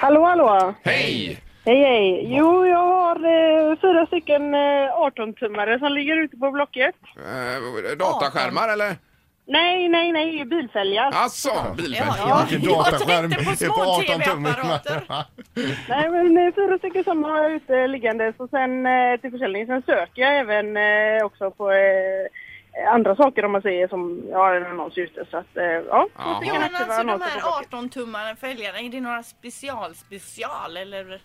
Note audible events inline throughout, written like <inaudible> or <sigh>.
Hallå, hallå! Hej! Hej, hej! Jo, jag har eh, fyra stycken eh, 18-tummare som ligger ute på Blocket. Eh, dataskärmar eller? Nej, nej, nej, bilfälgar. Alltså, bilfärg. Ja, Vilken jag dataskärm tänkte på är små 18 tum. TV-apparater. Nej, men eh, fyra stycken som har jag ute liggande och sen eh, till försäljning. Sen söker jag även eh, också på eh, andra saker om man säger som jag har en annons ute. Så att, eh, ja, Jaha. två stycken Ja, men aktiva alltså de annonser här på Blocket. 18-tummaren fälgarna, är det några special special eller? Mm.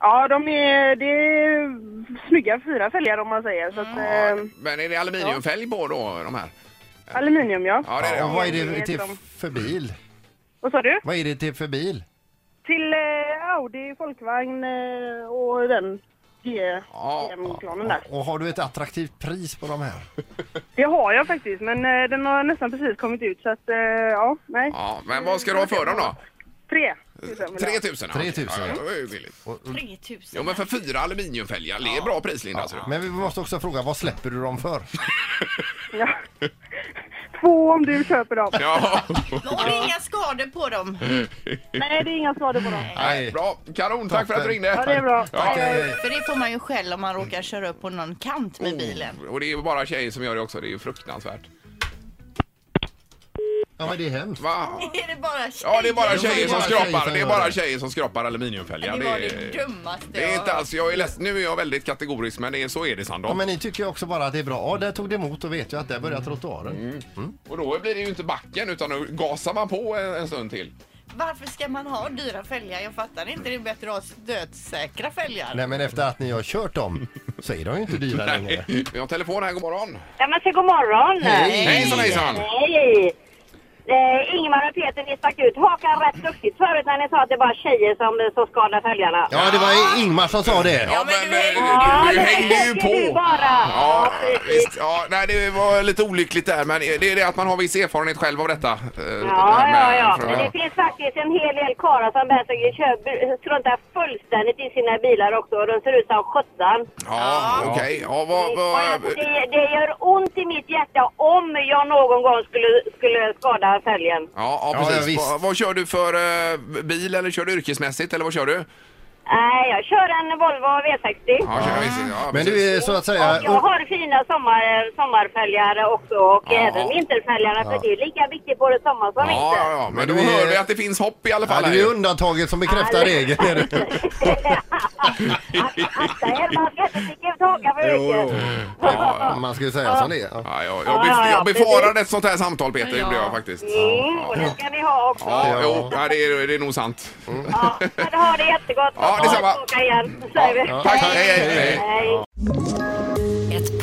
Ja, de är, det är snygga fyra fälgar om man säger. Så att, Mm. eh, Ehm. Men är det aluminiumfälg på då, de här? aluminium, ja. Ja, det är det. Ja, och Ja, vad är det vet till de. för bil? Vad sa du? Vad är det till för bil? Till eh, Audi, folkvagn eh, och den Ja. GM-klanen där. Och har du ett attraktivt pris på de här? Det har jag faktiskt, men eh, den har nästan precis kommit ut så att eh, ja, nej. ja, men vad ska du ha för dem då? Tre. tusen vill jag ha. 3000? 3000, Ja, ja. det var ju billigt. 3000? Jo, men för fyra aluminiumfälgar, det är bra prislinda. alltså. Men vi måste också fråga, vad släpper du dem för? Ja. <laughs> Två om du köper dem. Ja, Men har du inga skador på dem? Mm. Nej, det är inga skador på dem. nej, bra. Kanon, tack för att du ringde. Ja, det är bra. Ja. Eh, För det får man ju själv om man råkar köra upp på någon kant med bilen. Oh, Och det är ju bara tjejer som gör det också, det är ju fruktansvärt. Ja, men det är hemskt. Va? Är det bara tjejer? Ja, det är bara tjejer tjejer som som skrapar. Det är gör bara det. tjejer som skrapar aluminiumfälgar. Det var det dummaste Det är jag inte har alls, jag är ledsen, nu är jag väldigt kategorisk men det är, så är det Ja, Sandholm. men ni tycker ju också bara att det är bra. Ja, där tog det emot och vet jag att där börjar trottoaren. Och då blir det ju inte backen utan då gasar man på en, en stund till. Varför ska man ha dyra fälgar? Jag fattar inte. Det är bättre att ha dödssäkra fälgar. Nej, men efter att ni har kört dem så är de ju inte dyra längre. Vi har telefon här, god morgon. Ja, men så god morgon! Hej. Hejsan hejsan! Hej! Eh, Ingemar och Peter, ni stack ut hakan rätt duktigt förut när ni sa att det var tjejer som, som skadar fälgarna. Ja, det var Ingmar som sa det. Ja Ja, men men eh, du- du, du det hängde ju tänker du på! bara. Ja, precis. visst. Ja, nej, det var lite olyckligt där men det är det att man har viss erfarenhet själv av detta. eh, Ja, det här ja, med- ja. från- Men det finns faktiskt en hel del karlar som bär sig kör- struntar fullständigt i sina bilar också och de ser ut som sjutton. Ja, okej. Ja, vad, Och jag- vad, Det, det gör ont i mitt hjärta om jag någon gång skulle, skulle skada fälgen. Ja, ja, Ja, precis. ja, visst. vad, vad kör du för eh, bil eller kör du yrkesmässigt eller vad kör du? Nej, jag kör en Volvo V60. Ja, kör, visst, ja, Men precis. du är så att säga... Och jag har fina sommar, sommarfälgare också och Ja. även vinterfälgarna för det är lika viktigt både sommar som Ja, vinter. ja, ja, men Men då du är- hör vi att det finns hopp i alla Ja, fall. det här är ju ju. undantaget som bekräftar regeln. är det. Akta er, man ska inte sticka ut hakan för mycket. Ja, Man ska ju säga som det är. Ja. ja, jag, jag, Ja, bef- ja, jag ja, befarade ett sånt här samtal Peter, gjorde jag faktiskt. Mm, och det ska ni ha också. Ja, Ja. jo, ja, det, är, det är nog sant. Ja, men ha det jättegott. Ja, detsamma. Åka igen, säger vi. Tack, hej, hej, hej. Hej. Ett